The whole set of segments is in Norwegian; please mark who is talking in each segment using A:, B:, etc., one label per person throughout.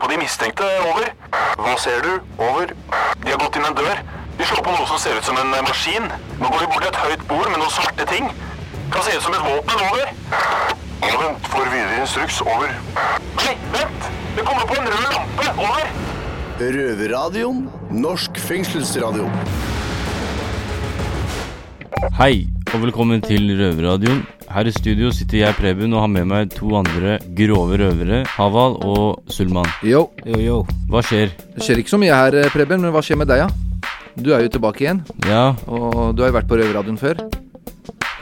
A: på de mistenkte. Over. Hva ser du? Over. De har gått inn en dør. De slår på noe som ser ut som en eh, maskin. Nå går de bort til et høyt bord med noen svarte ting. Kan se ut som et våpen. Over. Vent for videre instruks. Over. Nei, vent! Det kommer på en rød lampe. Over.
B: Røverradioen. Norsk fengselsradio.
C: Hei, og velkommen til Røverradioen. Her i studio sitter jeg, Preben, og har med meg to andre grove røvere, Haval og Sulman.
D: Yo,
C: Hva skjer?
D: det skjer ikke så mye her, eh, Preben, men hva skjer med deg, da? Du er jo tilbake igjen,
C: Ja,
D: og du har jo vært på Røverradioen før.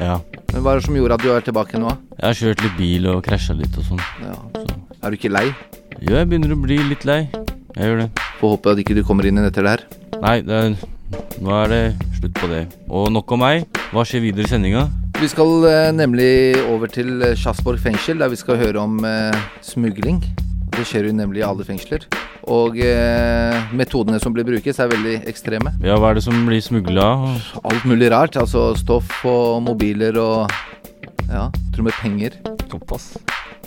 C: ja.
D: Men hva er det som gjorde at du er tilbake nå?
C: Jeg har kjørt litt bil og krasja litt og sånn.
D: Ja. altså, Er du ikke lei?
C: Jo, jeg begynner å bli litt lei. Jeg gjør det.
D: Får håpe at ikke du kommer inn igjen etter det her.
C: Nei, det er, nå er det slutt på det. Og nok om meg. Hva skjer videre i sendinga?
D: Vi skal eh, nemlig over til eh, Sjassborg fengsel, der vi skal høre om eh, smugling. Det skjer jo nemlig i alle fengsler. Og eh, metodene som blir brukes, er veldig ekstreme.
C: Ja, hva er det som blir smugla?
D: Alt mulig rart. Altså stoff og mobiler og Ja, til og med penger.
C: Såpass.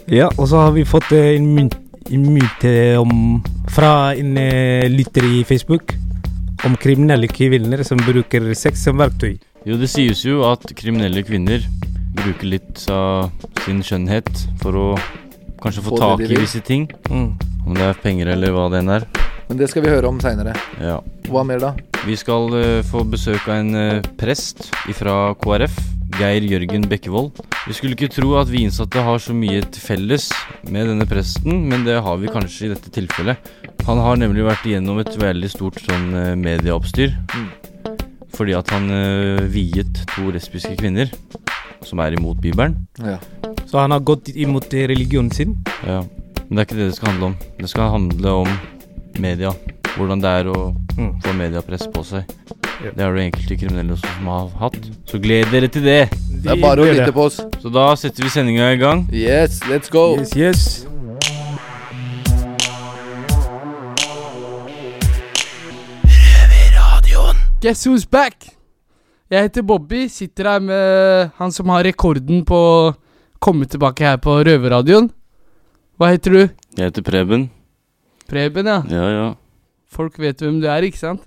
E: Ja, og så har vi fått eh, en mynt, en mynt eh, om, fra en eh, lytter i Facebook om kriminelle kvinner som bruker sex som verktøy.
C: Jo, det sies jo at kriminelle kvinner bruker litt av sin skjønnhet for å kanskje få
D: Få det
C: tak
D: de
C: i
D: vil.
C: visse ting. Mm. Om det er penger eller hva det enn er.
D: Men det skal vi høre om seinere.
C: Ja.
D: Hva mer, da?
C: Vi skal eh, få besøk av en eh, prest fra KrF, Geir Jørgen Bekkevold. Vi skulle ikke tro at vi innsatte har så mye til felles med denne presten, men det har vi kanskje i dette tilfellet. Han har nemlig vært igjennom et veldig stort sånn eh, medieoppstyr. Fordi at han eh, viet to lesbiske kvinner som er imot Bibelen.
D: Ja.
E: Så han har gått imot eh, religionen sin.
C: Ja, Men det er ikke det det skal handle om. Det skal handle om media. Hvordan det er å
E: Mm.
C: få mediepress på seg.
E: Ja.
C: Det er det enkelte kriminelle også som har hatt. Så gled dere til det!
D: Det er bare å lytte på oss.
C: Så da setter vi sendinga i gang.
D: Yes, let's go.
E: Yes, yes.
F: Guess who's back? Jeg heter Bobby, sitter her med han som har rekorden på å komme tilbake her på Røverradioen. Hva heter du?
C: Jeg heter Preben.
F: Preben, ja.
C: Ja, ja.
F: Folk vet hvem du er, ikke sant?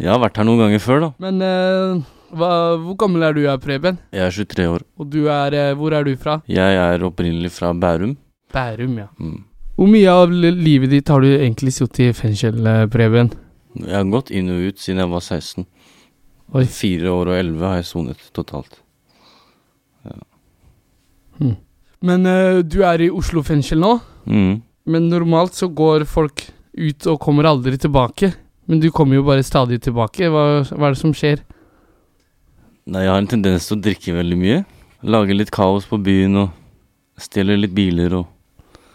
C: Jeg har vært her noen ganger før, da.
F: Men eh, hva, hvor gammel er du, ja, Preben?
C: Jeg er 23 år.
F: Og du er eh, Hvor er du fra?
C: Jeg er opprinnelig fra Bærum.
F: Bærum, ja.
C: Mm.
F: Hvor mye av li- livet ditt har du egentlig sittet i fengsel, eh, Preben?
C: Jeg har gått inn og ut siden jeg var 16.
F: Oi.
C: Fire år og 11 har jeg sonet totalt.
F: Men eh, du er i Oslo fengsel nå.
C: Mm.
F: Men normalt så går folk ut og kommer aldri tilbake. Men du kommer jo bare stadig tilbake. Hva, hva er det som skjer?
C: Nei, jeg har en tendens til å drikke veldig mye. Lage litt kaos på byen og stjele litt biler og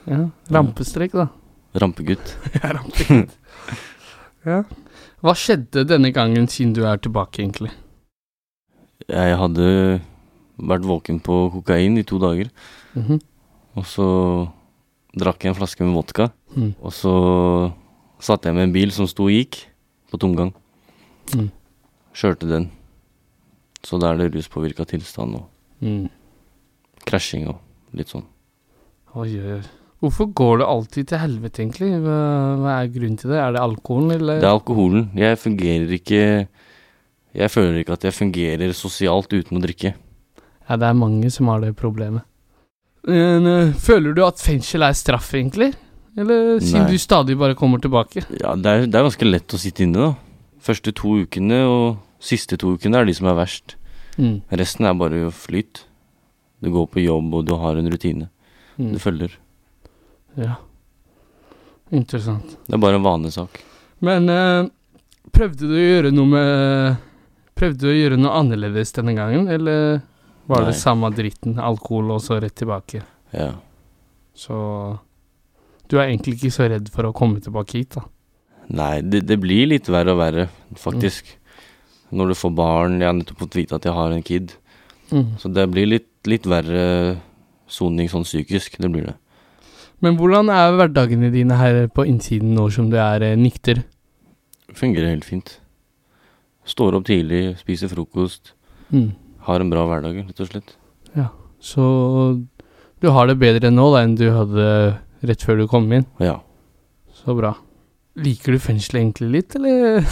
F: Ja, Rampestrek, da.
C: rampegutt.
F: ja. Hva skjedde denne gangen siden du er tilbake, egentlig?
C: Jeg hadde vært våken på kokain i to dager,
F: Mhm.
C: og så drakk jeg en flaske med vodka.
F: Mm.
C: Og så satte jeg med en bil som sto og gikk, på tomgang.
F: Mm.
C: Kjørte den. Så da er det ruspåvirka tilstand og
F: Mm.
C: krasjing og litt sånn.
F: Oi, oi, oi. Hvorfor går det alltid til helvete, egentlig? Hva, hva er grunnen til det? Er det alkoholen, eller?
C: Det er alkoholen. Jeg fungerer ikke Jeg føler ikke at jeg fungerer sosialt uten å drikke.
F: Ja, det er mange som har det problemet. Men, eh, føler du at fengsel er straff, egentlig? Eller eh, siden
C: Nei.
F: du stadig bare kommer tilbake?
C: Ja, det er, det er ganske lett å sitte inne, da. Første to ukene og siste to ukene er de som er verst.
F: Mm.
C: Resten er bare flyt. Du går på jobb, og du har en rutine.
F: Mm.
C: Du følger.
F: Ja. Interessant.
C: Det er bare en vanesak.
F: Men eh, prøvde du å gjøre noe med Prøvde du å gjøre noe annerledes denne gangen, eller var
C: Nei.
F: det samme dritten? Alkohol og så rett tilbake.
C: Ja.
F: Så du er egentlig ikke så redd for å komme tilbake hit, da.
C: Nei, det, det blir litt verre og verre, faktisk.
F: Mm.
C: Når du får barn Jeg har nettopp fått vite at jeg har en kid.
F: Mm.
C: Så det blir litt, litt verre soning sånn psykisk. Det blir det.
F: Men hvordan er hverdagene dine her på innsiden nå som du er eh, nikter?
C: Fungerer helt fint. Står opp tidlig, spiser frokost.
F: Mm.
C: Har en bra hverdag, rett og slett.
F: Så du har det bedre nå da enn du hadde rett før du kom inn?
C: Ja.
F: Så bra. Liker du fengselet egentlig litt, eller?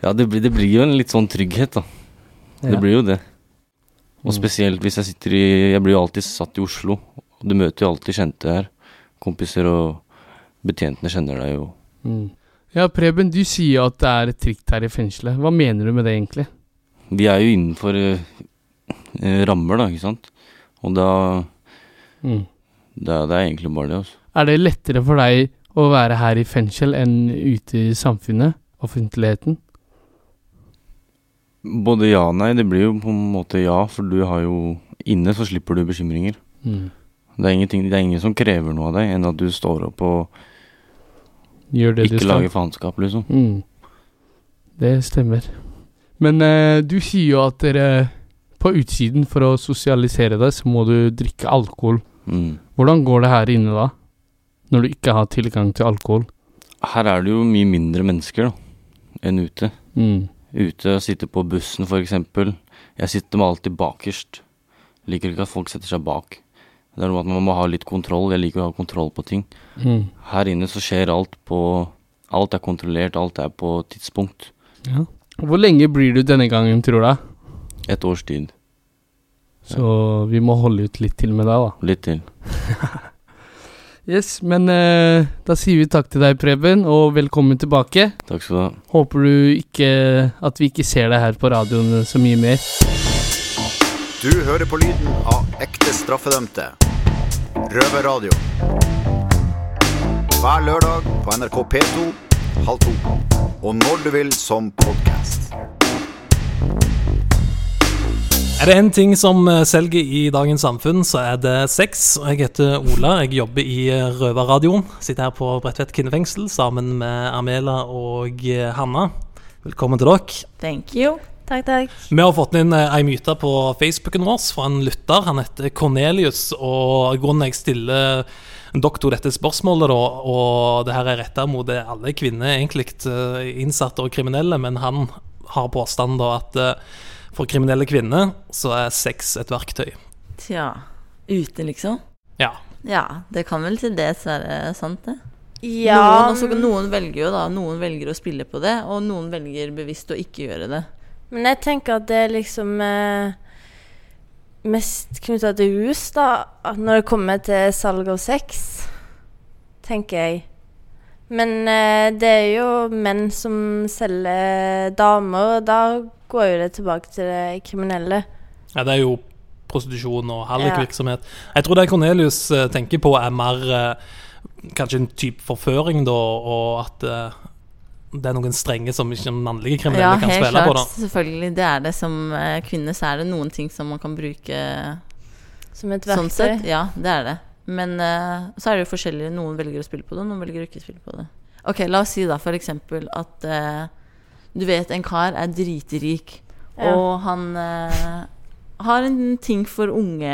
C: Ja, det blir, det blir jo en litt sånn trygghet, da.
F: Ja.
C: Det blir jo det. Og
F: Mm.
C: spesielt hvis jeg sitter i Jeg blir jo alltid satt i Oslo. Og du møter jo alltid kjente her. Kompiser og betjentene kjenner deg jo.
F: Mm. Ja, Preben, du sier jo at det er et trikt her i fengselet. Hva mener du med det, egentlig?
C: Vi er jo innenfor eh, eh, rammer, da, ikke sant. Og da
F: Mm.
C: det er, det er egentlig bare det, altså.
F: Er det lettere for deg å være her i fengsel enn ute i samfunnet? Offentligheten?
C: Både ja og nei. Det blir jo på en måte ja, for du har jo Inne så slipper du bekymringer.
F: Mm.
C: Det er, ingenting, det er ingen som krever noe av deg, enn at du står opp og
F: Gjør det du
C: ikke
F: skal.
C: lager faenskap, liksom.
F: Mm. Det stemmer. Men eh, du sier jo at dere på utsiden, for å sosialisere deg, så må du drikke alkohol.
C: Mm.
F: Hvordan går det her inne da? Når du ikke har tilgang til alkohol?
C: Her er det jo mye mindre mennesker da, enn ute.
F: Mm.
C: Ute og sitter på bussen for eksempel. Jeg sitter meg alltid bakerst. Liker ikke at folk setter seg bak. Det er noe med at man må ha litt kontroll. Jeg liker å ha kontroll på ting.
F: Mm.
C: Her inne så skjer alt på Alt er kontrollert, alt er på tidspunkt.
F: Hvor lenge blir du denne gangen, tror jeg?
C: Et års tid.
F: Så vi må holde ut litt til med deg, da.
C: Litt til.
F: Yes, men eh, da sier vi takk til deg, Preben, og velkommen tilbake.
C: Takk skal du ha.
F: Håper du ikke at vi ikke ser deg her på radioen så mye mer.
G: Du hører på lyden av ekte straffedømte. Røverradio. Hver lørdag på NRK P2 halv to. Og når du vil som podkast.
H: Er det en ting som eh, selger i dagens samfunn, så er det sex. Og Jeg heter Ola, jeg jobber i eh, Røverradioen. Sitter her på Bredtvet kvinnefengsel sammen med Amela og eh, Hanna. Velkommen til dere.
I: Thank you. Takk, takk.
H: Vi har fått inn eh, ei myte på Facebooken vår fra en lytter. Han heter Cornelius. Og grunnen jeg stiller doktor dette spørsmålet, da, og det her er retta mot det alle kvinner, egentlig eh, innsatte og kriminelle, men han har påstanden da at eh, for kriminelle kvinner så er sex et verktøy.
I: Tja, ute liksom?
H: Ja.
I: Ja, det kan vel til dels være sant, det.
J: Ja,
I: Noen, altså, noen velger jo da, noen velger å spille på det, og noen velger bevisst å ikke gjøre det.
J: men jeg tenker at det er liksom eh, mest knytta til rus, da. at Når det kommer til salg av sex, tenker jeg. Men eh, det er jo menn som selger damer, og da går jo det tilbake til det kriminelle.
H: ja det er jo prostitusjon og hallikvirksomhet. Jeg tror det Cornelius eh, tenker på, er mer eh, kanskje en type forføring, da, og at eh, det er noen strenge som ikke mannlige kriminelle
I: Ja,
H: kan
I: helt
H: spille
I: klart.
H: på. da
I: Selvfølgelig. Det er det. Som eh, kvinne så er det noen ting som man kan bruke
J: Som et
I: sånn sett.
J: verktøy.
I: Ja, det er det. Men eh, så er det jo forskjellig. Noen velger å spille på det, og noen velger å ikke spille på det. Ok, la oss si da for eksempel at eh, du vet en kar er dritrik,
J: Ja.
I: og han eh, har en ting for unge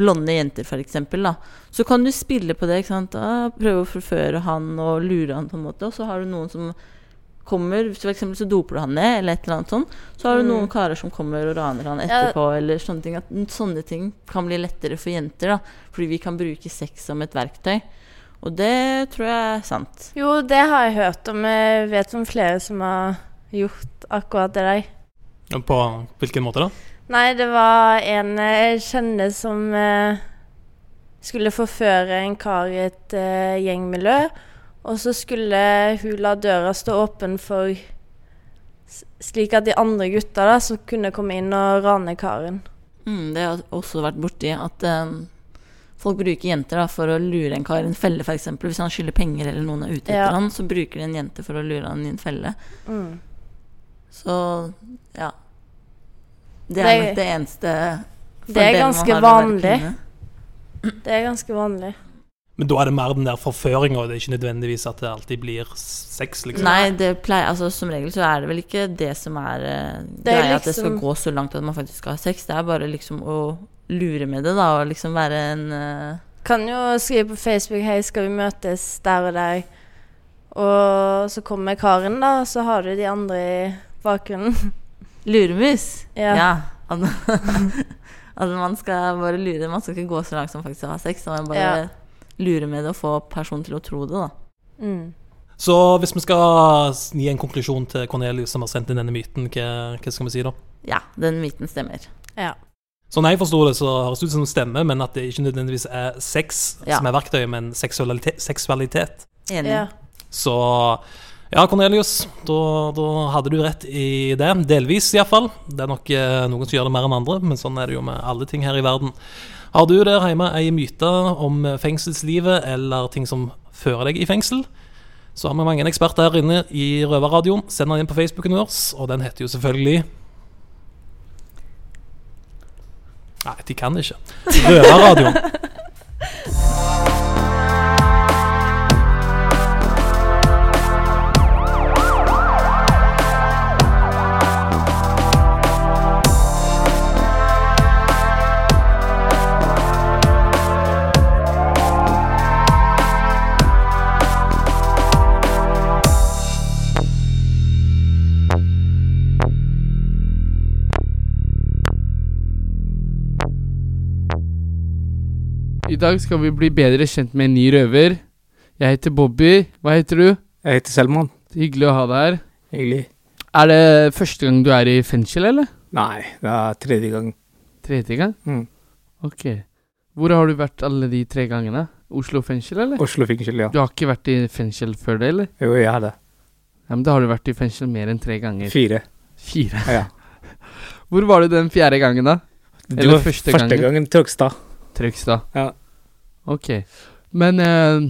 I: blonde jenter, for eksempel, da. Så kan du spille på det, ikke sant. Ah, Prøve å forføre han og lure han på en måte, og så har du noen som kommer, for eksempel så doper du han ned, eller et eller annet sånt. Så har du
J: Mm.
I: noen karer som kommer og raner han etterpå, eller sånne ting. At sånne ting kan bli lettere for jenter, da. Fordi vi kan bruke sex som et verktøy. Og det tror jeg er sant.
J: Jo, det har jeg hørt om. Jeg vet om flere som har gjort akkurat det der.
H: På hvilken måte da?
J: Nei, det var en eh, jeg kjenner som eh, skulle forføre en kar i et eh, gjengmiljø. Og så skulle hun la døra stå åpen for s- slik at de andre gutta da, som kunne komme inn og rane karen.
I: Mm, det har jeg også vært borti at eh, folk bruker jenter da, for å lure en kar i en felle, f.eks. Hvis han skylder penger eller noen er ute etter
J: Ja.
I: han, så bruker de en jente for å lure han i en felle.
J: Mm.
I: Så ja. Det er
J: Det-
I: nok det eneste
J: Det er
I: fordelen man
J: ganske
I: har av å være
J: vanlig.
I: kvinne.
J: Det er ganske vanlig.
H: Men da er det mer den der forføringa, og det er ikke nødvendigvis at det alltid blir sex, liksom.
I: Nei, det pleier, altså, som regel så er det vel ikke det som er eh,
J: Det er
I: greia, at det skal
J: liksom-
I: gå så langt at man faktisk skal ha sex. Det er bare liksom å lure med det, da, og liksom være en eh,
J: Kan jo skrive på Facebook 'Hei, skal vi møtes der og der?' Og så kommer karen, da, og så har du de andre i bakgrunnen.
I: luremus.
J: Ja.
I: At, at man skal bare lure. Man skal ikke gå så langt som faktisk å ha sex. Da, man bare
J: Ja.
I: lure med det og få personen til å tro det, da.
J: Mm.
H: Så hvis vi skal s- gi en konklusjon til Cornelius som har sendt inn denne myten, hva, hva skal vi si da?
I: Ja, den myten stemmer.
J: Ja.
H: Sånn jeg forstår det, så høres det ut som stemme, men at det ikke nødvendigvis er sex
I: Ja.
H: som er verktøyet, men seksualitet. seksualitet.
I: Enig.
J: ja.
H: Så ja, Cornelius, da, da hadde du rett i det. Delvis, iallfall. Det er nok eh, noen som gjør det mer enn andre, men sånn er det jo med alle ting her i verden. Har du der hjemme ei myte om eh, fengselslivet eller ting som fører deg i fengsel? Så har vi mange eksperter her inne i Røverradioen. Send den inn på Facebooken vår, og den heter jo selvfølgelig Nei, de kan ikke. Røverradioen.
F: I dag skal vi bli bedre kjent med en ny røver. Jeg heter Bobby. Hva heter du?
E: Jeg heter Selman.
F: Hyggelig å ha deg her.
E: Hyggelig.
F: Er det første gang du er i fengsel, eller?
E: Nei, det er tredje gang.
F: Tredje gang?
E: Mm.
F: Ok. Hvor har du vært alle de tre gangene? Oslo fengsel, eller?
E: Oslo fengsel, ja.
F: Du har ikke vært i fengsel før det, eller?
E: Jo, jeg hadde
F: Ja, men da har du vært i fengsel mer enn tre ganger.
E: fire.
F: Fire.
E: Ja.
F: Hvor var du den fjerde gangen, da?
E: Det
F: Eller
E: var
F: første
E: første,
F: gangen?
E: gangen Trøgstad.
F: Trøgstad.
E: Ja.
F: Ok. Men eh,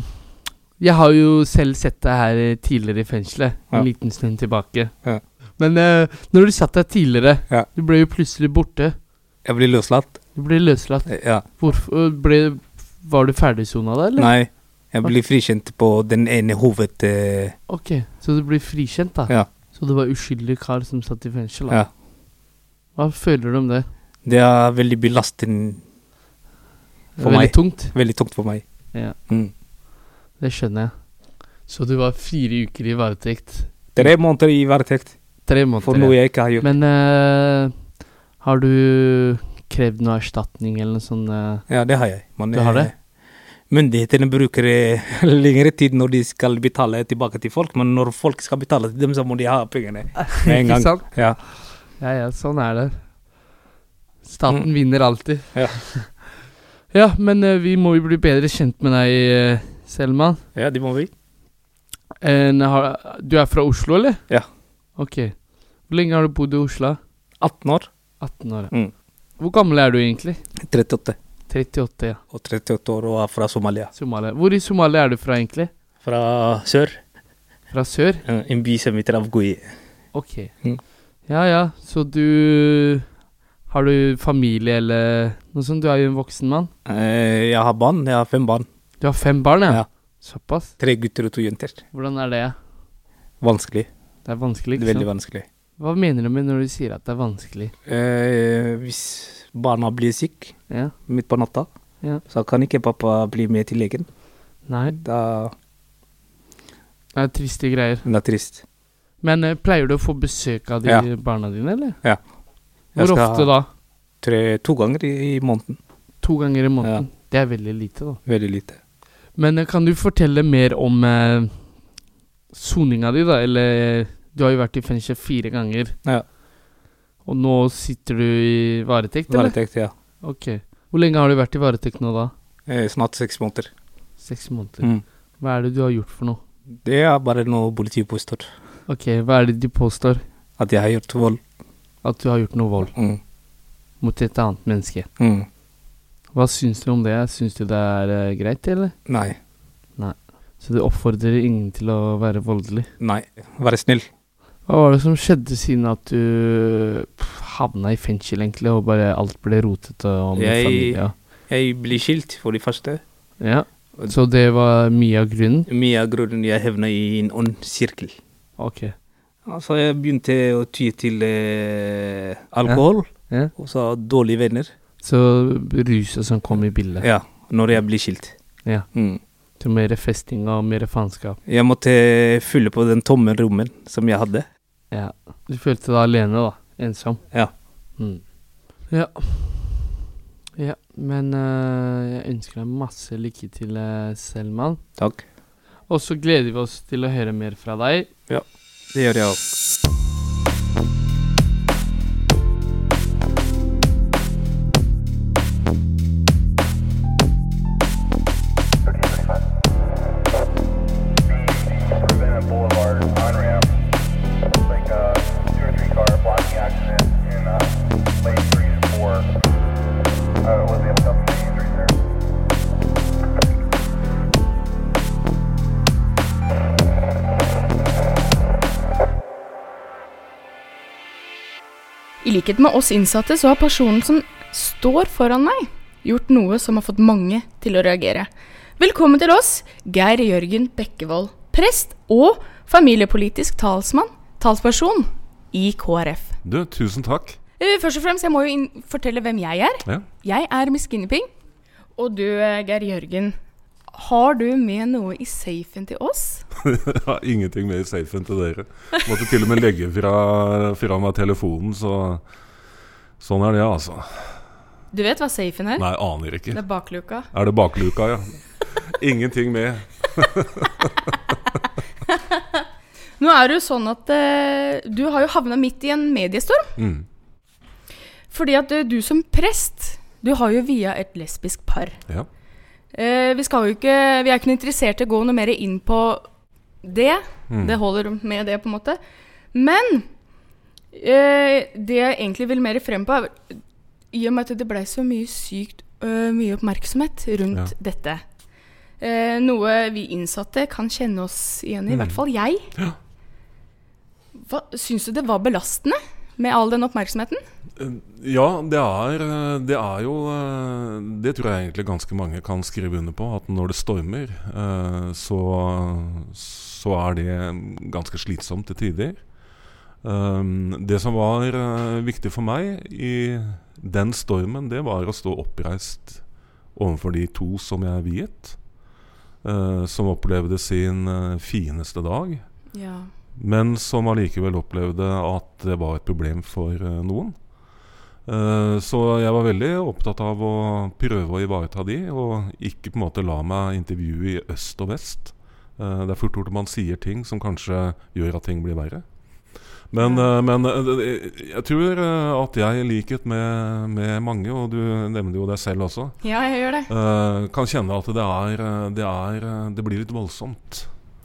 F: jeg har jo selv sett deg her eh, tidligere i fengselet.
E: Ja.
F: En liten stund tilbake.
E: Ja.
F: Men eh, når du satt der tidligere,
E: Ja.
F: du ble jo plutselig borte.
E: Jeg ble løslatt. Eh,
F: Du ble løslatt.
E: Ja.
F: Hvorfor ble, Var du ferdigsona da, eller?
E: Nei, jeg ble frikjent på den ene hoved... eh,
F: Ok, så du ble frikjent, da?
E: Ja.
F: Så det var uskyldig kar som satt i fengsel? da?
E: Ja.
F: Hva føler du om det?
E: Det er veldig belastende.
F: Det
E: For
F: er
E: meg.
F: veldig tungt.
E: Veldig tungt for meg.
F: Ja.
E: Mm.
F: Det skjønner jeg. Så du var fire uker i varetekt.
E: Tre måneder i varetekt
F: Tre måneder.
E: for
F: ja.
E: noe jeg ikke har gjort.
F: Men eh, har du krevd noe erstatning eller noe sånt? eh?
E: Ja, det har jeg. Men,
F: Du har det?
E: eh, Myndighetene bruker eh, lengre tid når de skal betale tilbake til folk, men når folk skal betale til dem, så må de ha pengene med en
F: Ikke
E: gang.
F: sant?
E: Ja.
F: Ja, ja, sånn er det. Staten
E: Mm.
F: vinner alltid.
E: Ja.
F: Ja, men eh, vi må jo bli bedre kjent med deg, eh, Selman.
E: ja, det må vi.
F: En har, du er fra Oslo, eller?
E: Ja.
F: Ok. Hvor lenge har du bodd i Oslo?
E: 18 år.
F: 18 år. ja.
E: Mm.
F: Hvor gammel er du egentlig?
E: 38.
F: 38, ja.
E: Og 38 år og er fra Somalia.
F: Somalia. Hvor i Somalia er du fra, egentlig?
E: Fra sør.
F: Fra sør?
E: eh, En by som heter Avgui.
F: Ok.
E: Mm.
F: Ja ja, så du Har du familie eller noe sånt? Du er jo en voksen mann.
E: Eh, Jeg har barn. Jeg har fem barn.
F: Du har fem barn, ja?
E: Ja.
F: Såpass?
E: Tre gutter og to jenter.
F: Hvordan er det?
E: Vanskelig.
F: Det er vanskelig, ikke sant?
E: Veldig vanskelig.
F: Hva mener du med når du sier at det er vanskelig?
E: Eh, Hvis barna blir syke
F: Ja.
E: midt på natta,
F: Ja.
E: så kan ikke pappa bli med til legen.
F: Nei,
E: Da
F: det er triste greier.
E: det er trist.
F: Men eh, pleier du å få besøk av de
E: Ja.
F: barna dine, eller?
E: Ja. Jeg
F: Hvor
E: skal
F: ofte da?
E: Tre, to ganger i, i måneden.
F: To ganger i måneden? Det er veldig lite, da.
E: Veldig lite.
F: Men eh, kan du fortelle mer om eh, soninga di, da? Eller eh, Du har jo vært i fengsel fire ganger.
E: Ja.
F: Og nå sitter du i varetekt, eller?
E: Varetekt, ja.
F: Ok. Hvor lenge har du vært i varetekt nå, da?
E: Eh, Snart seks måneder.
F: Seks måneder.
E: Mm.
F: Hva er det du har gjort for noe?
E: Det er bare noe politiet påstår.
F: Ok, hva er det de påstår?
E: At jeg har gjort vold.
F: At du har gjort noe vold
E: Mm.
F: mot et annet menneske.
E: Mm.
F: Hva syns du om det? Syns du det er eh, greit, eller?
E: Nei.
F: Så du oppfordrer ingen til å være voldelig?
E: Nei. Være snill.
F: Hva var det som skjedde siden at du pff, havna i fengsel, egentlig, og bare alt ble rotete og med
E: Jeg-
F: familie?
E: Jeg blir skilt, for det første.
F: Ja. Så det var mye av grunnen?
E: Mye av grunnen jeg havna i en ond sirkel.
F: Ok.
E: Altså, jeg begynte å ty til eh, alkohol,
F: Ja. Ja.
E: og så dårlige venner.
F: Så ruset som kom i bildet.
E: Ja, når jeg blir skilt.
F: Ja.
E: Mm.
F: Til mer festing og mer faenskap.
E: Jeg måtte fylle på den tomme rommen som jeg hadde.
F: Ja. Du følte deg alene, da. Ensom.
E: Ja.
F: Mm. Ja. Ja, men eh, jeg ønsker deg masse lykke til, eh, Selman.
E: Takk.
F: Og så gleder vi oss til å høre mer fra deg.
E: Ja, det gjør jeg òg.
K: I likhet med oss innsatte så har personen som står foran meg, gjort noe som har fått mange til å reagere. Velkommen til oss, Geir Jørgen Bekkevold, prest og familiepolitisk talsmann, talsperson i KrF.
L: Du, tusen takk.
K: Eh, Først og fremst, jeg må jo inn fortelle hvem jeg er.
L: Ja.
K: Jeg er Miss Guinevere. Og du, eh, Geir Jørgen, har du med noe i safen til oss?
L: Jeg har ingenting mer safe enn til dere. Måtte til og med legge fra, fra meg telefonen, så sånn er det, altså.
K: Du vet hva safen er?
L: Nei, aner ikke.
K: Det er bakluka.
L: Er det bakluka, ja? Ingenting med.
K: Nå er det jo sånn at eh, du har jo havna midt i en mediestorm.
L: Mm.
K: Fordi at eh, du som prest, du har jo via et lesbisk par.
L: Ja.
K: Eh, vi, skal jo ikke, vi er ikke noe interessert i å gå noe mer inn på det.
L: Mm.
K: Det holder med det, på en måte. Men eh, det jeg egentlig vil mer frem på, er i og med at det blei så mye sykt eh, mye oppmerksomhet rundt
L: Ja.
K: dette. Eh, noe vi innsatte kan kjenne oss igjen i, i
L: Mm.
K: hvert fall jeg. Hva, syns du det var belastende med all den oppmerksomheten?
L: Ja, det er, eh, det er jo eh, Det tror jeg egentlig ganske mange kan skrive under på. At når det stormer, eh, så, så er det ganske slitsomt til tider. Um, Det som var eh, viktig for meg i den stormen, det var å stå oppreist overfor de to som jeg viet. eh, Som opplevde sin eh, fineste dag.
K: Ja.
L: Men som allikevel opplevde at det var et problem for eh, noen. Eh, Så jeg var veldig opptatt av å prøve å ivareta de, og ikke på en måte la meg intervjue i øst og vest. Eh, Det er fort gjort at man sier ting som kanskje gjør at ting blir verre. Men, eh, men eh, jeg tror eh, at jeg, i likhet med, med mange, og du nevner jo deg selv også,
K: Ja, jeg gjør det.
L: eh, kan kjenne at det, er, eh, det, er, eh, det blir litt voldsomt.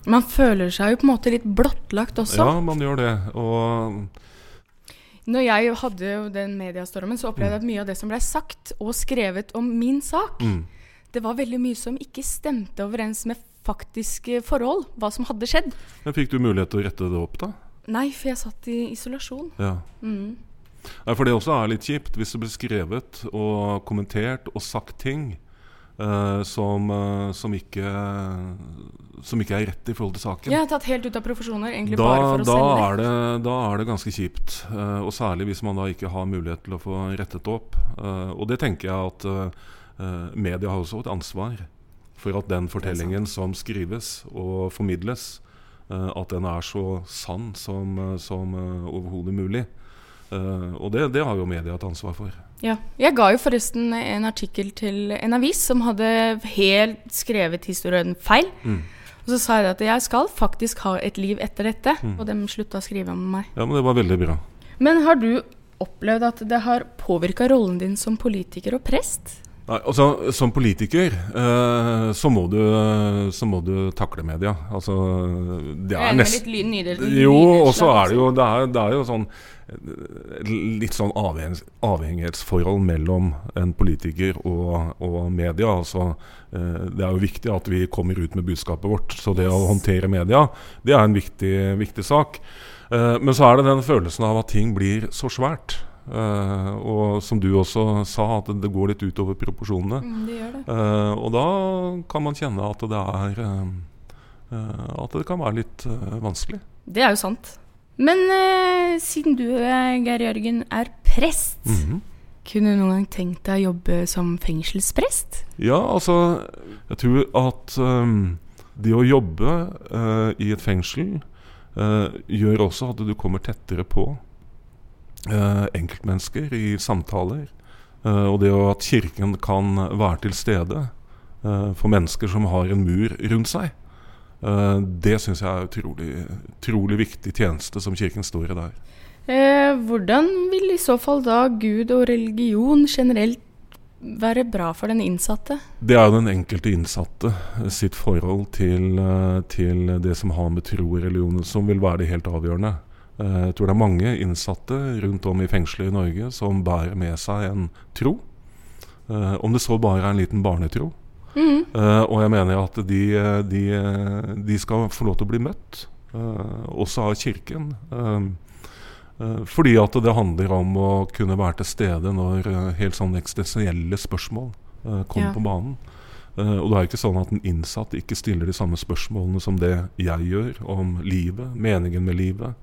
K: Man føler seg jo på en måte litt blottlagt også.
L: Ja, man gjør det. Og
K: Når jeg hadde jo den mediestormen, så opplevde jeg at mye av det som ble sagt og skrevet om min sak,
L: Mm.
K: det var veldig mye som ikke stemte overens med faktiske forhold, hva som hadde skjedd.
L: Men fikk du mulighet til å rette det opp, da?
K: Nei, for jeg satt i isolasjon.
L: Ja.
K: Mm.
L: Nei, For det også er litt kjipt hvis det blir skrevet og kommentert og sagt ting eh, som, eh, som, ikke, som ikke er rett i forhold til saken.
K: Jeg er tatt helt ut av profesjoner, egentlig
L: Da,
K: bare for å
L: da,
K: selge.
L: er det, da er det ganske kjipt, eh, og særlig hvis man da ikke har mulighet til å få rettet det opp. Eh, og det tenker jeg at eh, eh, media har også et ansvar for at den fortellingen som skrives og formidles, eh, at den er så sann som, eh, som eh, overhodet mulig. Eh, og det, det har jo media et ansvar for.
K: Ja. Jeg ga jo forresten en artikkel til en avis som hadde helt skrevet historien feil.
L: Mm.
K: Og så sa jeg at jeg skal faktisk ha et liv etter dette,
L: Mm.
K: og de slutta å skrive om meg.
L: Ja, men det var veldig bra.
K: Men har du opplevd at det har påvirka rollen din som politiker og prest?
L: Nei, altså, som politiker eh, så, må du, så må du takle media. Altså, det er
K: Jeg regner med
L: nest-
K: litt lyd- nydel-
L: Jo,
K: nydelslag,
L: og så er det jo Det er, det er jo sånn eh, litt sånn avhengighets, avhengighetsforhold mellom en politiker og, og media. Altså, eh, det er jo viktig at vi kommer ut med budskapet vårt. Så det å håndtere media, det er en viktig, viktig sak. Eh, men så er det den følelsen av at ting blir så svært. Eh, og som du også sa, at det går litt utover proporsjonene.
K: Mm, det gjør det.
L: Eh, og da kan man kjenne at det er eh, eh, At det kan være litt eh, vanskelig.
K: Det er jo sant. Men eh, siden du, eh, Geir Jørgen, er prest,
L: Mhm.
K: kunne du noen gang tenkt deg å jobbe som fengselsprest?
L: Ja, altså Jeg tror at ehm, det å jobbe eh, i et fengsel eh, gjør også at du kommer tettere på eh, enkeltmennesker i samtaler. Eh, og det å at kirken kan være til stede eh, for mennesker som har en mur rundt seg. Eh, Det syns jeg er utrolig, utrolig viktig tjeneste som kirken står i der.
K: Eh, hvordan vil i så fall da Gud og religion generelt være bra for den innsatte?
L: Det er jo den enkelte innsatte eh, sitt forhold til, eh, til det som har med tro og religion som vil være det helt avgjørende. Eh, Jeg tror det er mange innsatte rundt om i fengselet i Norge som bærer med seg en tro. Eh, Om det så bare er en liten barnetro.
K: Mhm.
L: Eh, Og jeg mener at de, eh, de, eh, de skal få lov til å bli møtt, eh, også av kirken. Eh, eh, Fordi at det handler om å kunne være til stede når eh, helt sånn eksistensielle spørsmål eh, kommer
K: Ja.
L: på banen. Eh, Og det er ikke sånn at en innsatt ikke stiller de samme spørsmålene som det jeg gjør om livet, meningen med livet.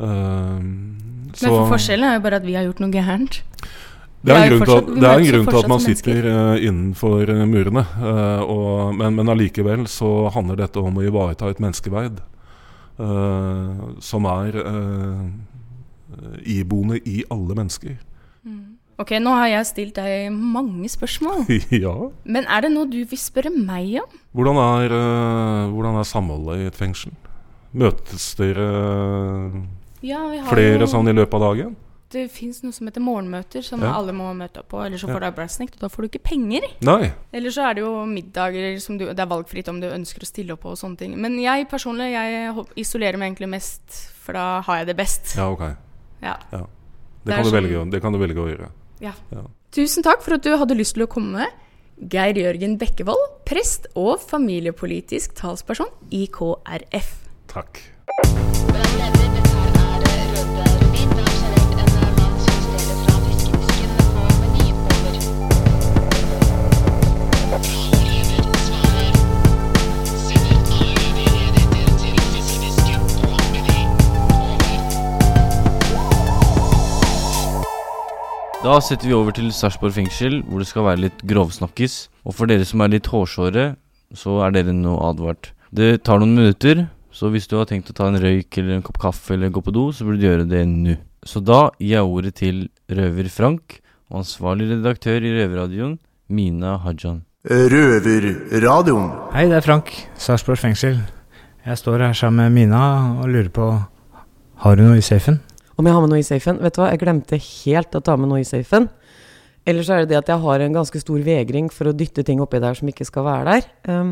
L: Eh,
K: Men for
L: så-
K: forskjellen er jo bare at vi har gjort noe gærent.
L: det
K: Vi
L: er en
K: jo
L: grunn til at,
K: fortsatt- vi
L: det er en
K: møtes jo
L: grunn til at
K: fortsatt
L: man
K: som mennesker.
L: sitter eh, innenfor eh, murene. eh, og, men, men allikevel så handler dette om å ivareta et menneskeverd eh, som er eh, iboende i alle mennesker.
K: Mm. Ok, nå har jeg stilt deg mange spørsmål.
L: ja.
K: Men er det noe du vil spørre meg om?
L: Hvordan er, eh, hvordan er samholdet i et fengsel? Møtes dere eh,
K: Ja, vi har
L: flere
K: jo-
L: sånn i løpet av dagen?
K: Det fins noe som heter morgenmøter, som
L: Ja.
K: alle må møte opp på. Eller så
L: Ja.
K: får du arbeidsnekt, og da får du ikke penger.
L: Nei.
K: Eller så er det jo middager som du Det er valgfritt om du ønsker å stille opp på og sånne ting. Men jeg personlig, jeg hop- isolerer meg egentlig mest, for da har jeg det best.
L: Ja, ok.
K: Ja.
L: Ja.
K: Det
L: Det,
K: er
L: kan du
K: sånn-
L: velge, å- det kan du velge å gjøre.
K: Ja.
L: Ja.
K: Tusen takk for at du hadde lyst til å komme. Geir Jørgen Bekkevold, prest og familiepolitisk talsperson i KrF.
L: Takk.
C: Da setter vi over til Sarpsborg fengsel, hvor det skal være litt grovsnakkis. Og for dere som er litt hårsåre, så er dere nå advart. Det tar noen minutter, så hvis du har tenkt å ta en røyk eller en kopp kaffe eller gå på do, så burde du gjøre det nå. Så da gir jeg ordet til Røver Frank og ansvarlig redaktør i Røverradioen, Mina Hajan.
B: Røverradioen.
M: Hei, det er Frank, Sarpsborg fengsel. Jeg står her sammen med Mina og lurer på Har du noe i safen?
N: Om jeg har med noe i safen? Vet du hva, jeg glemte helt å ta med noe i safen. Eller så er det det at jeg har en ganske stor vegring for å dytte ting oppi der som ikke skal være der. Ehm,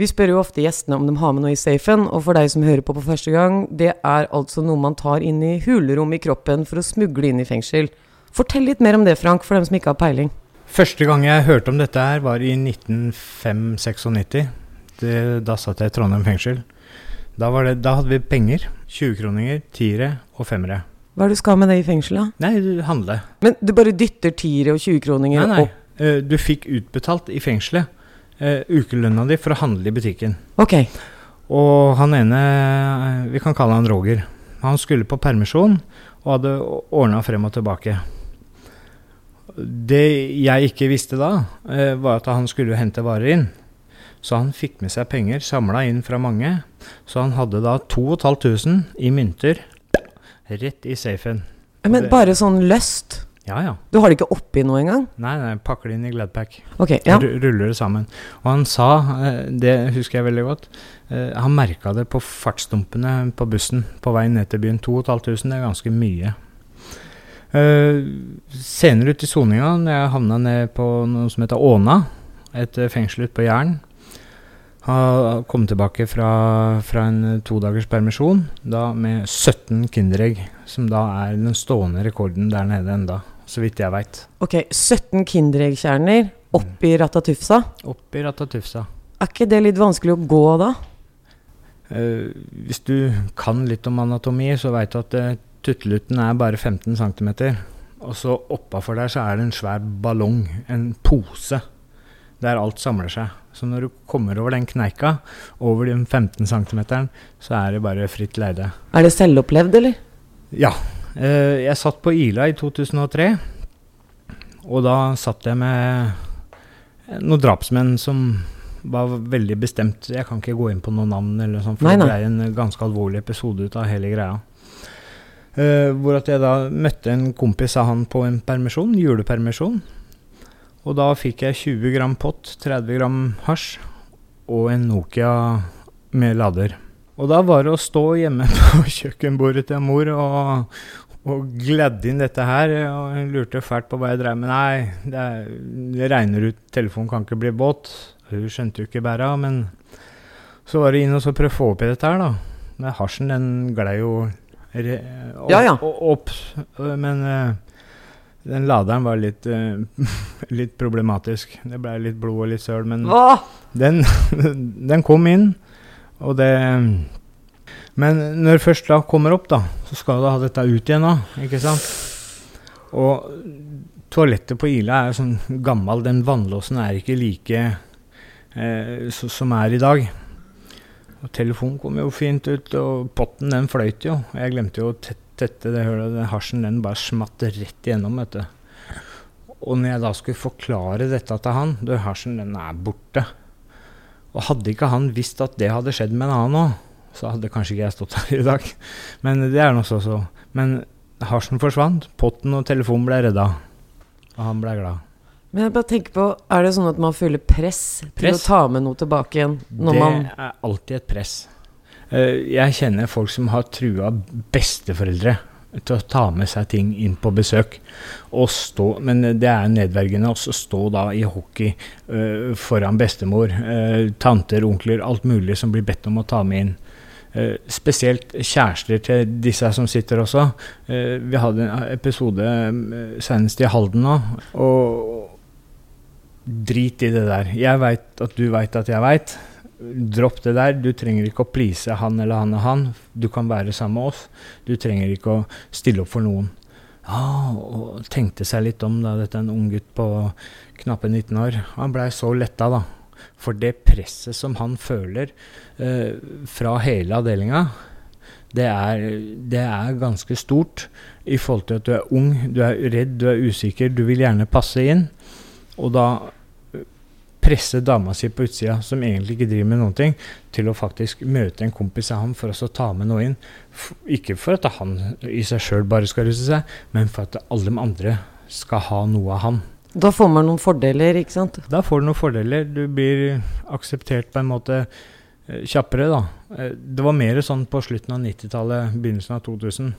N: vi spør jo ofte gjestene om de har med noe i safen, og for deg som hører på på første gang, det er altså noe man tar inn i hulrom i kroppen for å smugle inn i fengsel. Fortell litt mer om det, Frank, for dem som ikke har peiling.
M: Første gang jeg hørte om dette her, var i 1995-96. Det- Da satt jeg i Trondheim fengsel. Da, var det, da hadde vi penger. 20-kroninger, tiere og femmere.
N: Hva er det du skal med det i fengselet?
M: Nei, du handler.
N: Men du bare dytter tiere og 20-kroninger
M: Nei, nei.
N: opp?
M: eh, Du fikk utbetalt i fengselet eh, ukelønna di for å handle i butikken.
N: Ok.
M: Og han ene, eh, vi kan kalle han Roger, han skulle på permisjon og hadde ordna frem og tilbake. Det jeg ikke visste da, eh, var at han skulle hente varer inn. Så han fikk med seg penger, samla inn fra mange. Så han hadde da 2500 i mynter rett i safen.
N: Men bare sånn løst?
M: Ja, ja.
N: Du har det ikke oppi noe engang?
M: Nei, nei, pakker det inn i Gladpack.
N: Ok, ja.
M: Ru- Ruller det sammen. Og han sa, eh, det husker jeg veldig godt, eh, han merka det på fartsdumpene på bussen på vei ned til byen. 2500, det er ganske mye. Eh, senere ut i soninga, når jeg havna ned på noe som heter Åna, et eh, fengsel ute på Jæren Har kommet tilbake fra, fra en eh, todagers permisjon da med 17 Kinderegg, som da er den stående rekorden der nede enda, så vidt jeg veit.
N: Ok, 17 Kindereggkjerner oppi Ratatufsa.
M: Oppi Ratatufsa.
N: Er ikke det litt vanskelig å gå da?
M: Eh, hvis du kan litt om anatomi, så veit du at uh, tuttelutten er bare 15 cm. Og så oppafor der så er det en svær ballong, en pose, der alt samler seg. Så når du kommer over den kneika, over den 15 cm, så er det bare fritt leide.
N: Er det selvopplevd, eller?
M: Ja. eh, jeg satt på Ila i 2003, og da satt jeg med noen drapsmenn som var veldig bestemt. Jeg kan ikke gå inn på noen navn, eller sånn, for
N: Nei, nei.
M: det ble en ganske alvorlig episode ut av hele greia. Eh, hvor at jeg da møtte en kompis av han på en permisjon, julepermisjon. Og da fikk jeg 20 gram pott, 30 gram hasj og en Nokia med lader. Og da var det å stå hjemme på kjøkkenbordet til mor og, og gledde inn dette her. Og hun lurte fælt på hva jeg drev med. Nei, det, er, det regner ut, telefonen kan ikke bli båt. Hun skjønte jo ikke bæra, men så var det inn og så prøve å få opp i dette her, da. Men hasjen, den glei jo re, opp,
N: Ja, ja.
M: opp. Men eh, den laderen var litt, eh, litt problematisk. Det blei litt blod og litt søl, men
N: Åh!
M: den, den kom inn, og det Men når det først da kommer opp, da, så skal du ha dette ut igjen da, ikke sant? Og toalettet på Ila er jo sånn gammel, den vannlåsen er ikke like eh, så, som er i dag. Og telefonen kom jo fint ut, og potten den fløyt jo. Og jeg glemte jo å tet- tette det hullet. Den hasjen den bare smatt rett igjennom, vet du. Og når jeg da skulle forklare dette til han Du, hasjen den er borte. Og hadde ikke han visst at det hadde skjedd med en annen òg, så hadde kanskje ikke jeg stått her i dag. Men det er nå så så. Men hasjen forsvant. Potten og telefonen ble redda. Og han ble glad.
N: Men jeg bare tenker på, er det sånn at man føler press, til å
M: Press?
N: ta med noe tilbake igjen? Når
M: det
N: man
M: er alltid et press. Eh, Jeg kjenner folk som har trua besteforeldre til å ta med seg ting inn på besøk. Og stå, men det er nedverdigende også å stå da i hockey eh, foran bestemor, eh, tanter, onkler, alt mulig som blir bedt om å ta med inn. Eh, spesielt kjærester til disse som sitter også. Eh, vi hadde en episode eh, senest i Halden nå. Og, Drit i det der. Jeg veit at du veit at jeg veit. Dropp det der. Du trenger ikke å please han eller han og han. Du kan være sammen med oss. Du trenger ikke å stille opp for noen. Ja, og tenkte seg litt om, da, dette er en ung gutt på knappe 19 år. Han blei så letta, da. For det presset som han føler eh, fra hele avdelinga, det er, det er ganske stort i forhold til at du er ung, du er redd, du er usikker, du vil gjerne passe inn. Og da eh, presse dama si på utsida, som egentlig ikke driver med noen ting, til å faktisk møte en kompis av ham for også å ta med noe inn. F ikke for at han i seg sjøl bare skal ruse seg, men for at alle de andre skal ha noe av ham.
N: Da får man noen fordeler, ikke sant?
M: Da får du noen fordeler. Du blir akseptert på en måte eh, kjappere, da. Eh, Det var mer sånn på slutten av 90-tallet, begynnelsen av 2000.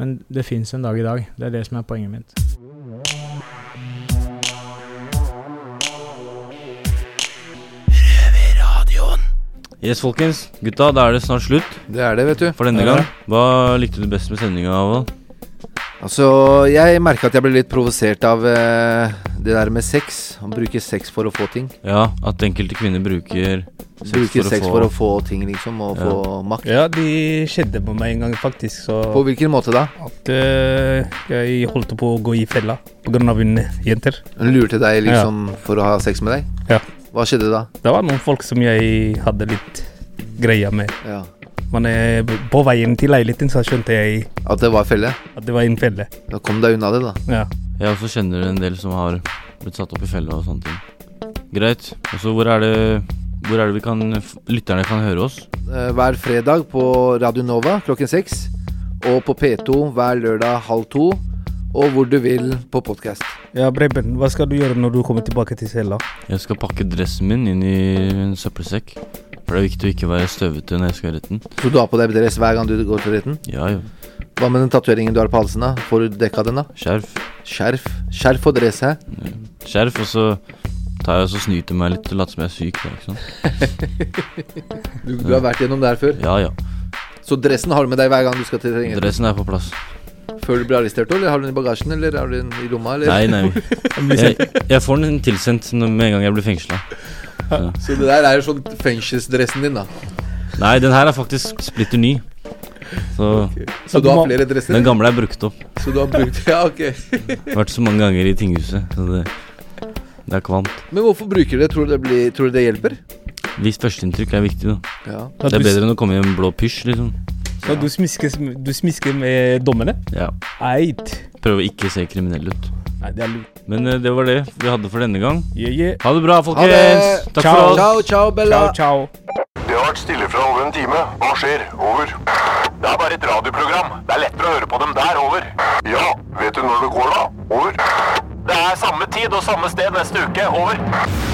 M: Men det fins en dag i dag. Det er det som er poenget mitt.
C: Yes, folkens. Gutta, da er det snart slutt.
D: Det er det, vet du.
C: For denne
D: Det er
C: gang. Hva likte du best med sendinga, Aval?
D: Altså, jeg merka at jeg ble litt provosert av eh, det der med sex. Å bruke sex for å få ting.
C: Ja, at enkelte kvinner bruker sex,
D: Bruke
C: for, å
D: sex
C: få...
D: for å få ting, liksom. Og
C: Ja.
D: få makt.
O: Ja, de skjedde på meg en gang, faktisk. Så
D: På hvilken måte da?
O: At eh, jeg holdt på å gå i fella pga. hun jenter.
D: Hun lurte deg liksom for å ha sex med deg?
O: Ja.
D: Hva skjedde da?
O: Det var noen folk som jeg hadde litt greia med.
D: Ja.
O: Men eh, på veien til leiligheten så skjønte jeg
D: At det var felle?
O: At det var en felle.
D: Da kom deg unna det, da.
O: Ja.
C: Jeg også kjenner en del som har blitt satt opp i fella og sånne ting. Greit. Og så hvor er det Hvor er det vi kan lytterne kan høre oss?
D: Eh, hver fredag på Radio Nova klokken seks. Og på P2 hver lørdag halv to. Og hvor du vil på podkast.
O: Ja, Breben, hva skal du gjøre når du kommer tilbake til cella?
C: Jeg skal pakke dressen min inn i en søppelsekk. For det er viktig å ikke være støvete når jeg skal i retten.
D: Så du har på deg dress hver gang du går til retten?
C: Ja, jo.
D: Hva med den tatoveringen du har på halsen? da? Får du dekka den, da?
C: Skjerf.
D: Skjerf Skjerf og dress, hæ?
C: Skjerf, og så tar jeg og så snyter jeg meg litt og later som jeg er syk. Da, ikke sant?
D: Du, du har vært gjennom det her før?
C: Ja, ja.
D: Så dressen har du med deg hver gang du skal til retten?
C: Dressen er på plass.
D: Før du blir arrestert, eller har du den i bagasjen, eller har du den i lomma, eller?
C: Nei, nei. Jeg, jeg får den tilsendt når- med en gang jeg blir fengsla.
D: Så det der er jo sånn fengselsdressen din, da.
C: Nei, den her er faktisk splitter ny. Så,
D: Så du har flere dresser?
C: Den gamle er brukt opp.
D: Så du har brukt Ja, ok.
C: Vært så mange ganger i tinghuset. Så det, det er kvant.
D: Men hvorfor bruker du det? Tror du det, blir, tror du det hjelper?
C: Visst førsteinntrykk er viktig, da.
D: Ja.
C: Det er bedre enn å komme i en blå pysj, liksom.
O: Så du, smisker, du smisker med dommene?
C: Ja.
O: Eit.
C: Prøve å ikke se kriminell ut.
O: Nei, det er lurt.
C: Men eh, det var det vi hadde for denne gang. Ha det bra,
A: Ha
C: folkens.
A: det.
C: Takk
A: Ciao.
C: for oss.
A: Ciao, ciao, Bella.
O: Ciao,
A: Det har vært stille fra over en time. Hva skjer? Over. Det er bare et radioprogram. Det er lettere å høre på dem der. Over. Ja, vet du når det går, da? Over. Det er samme tid og samme sted neste uke. Over.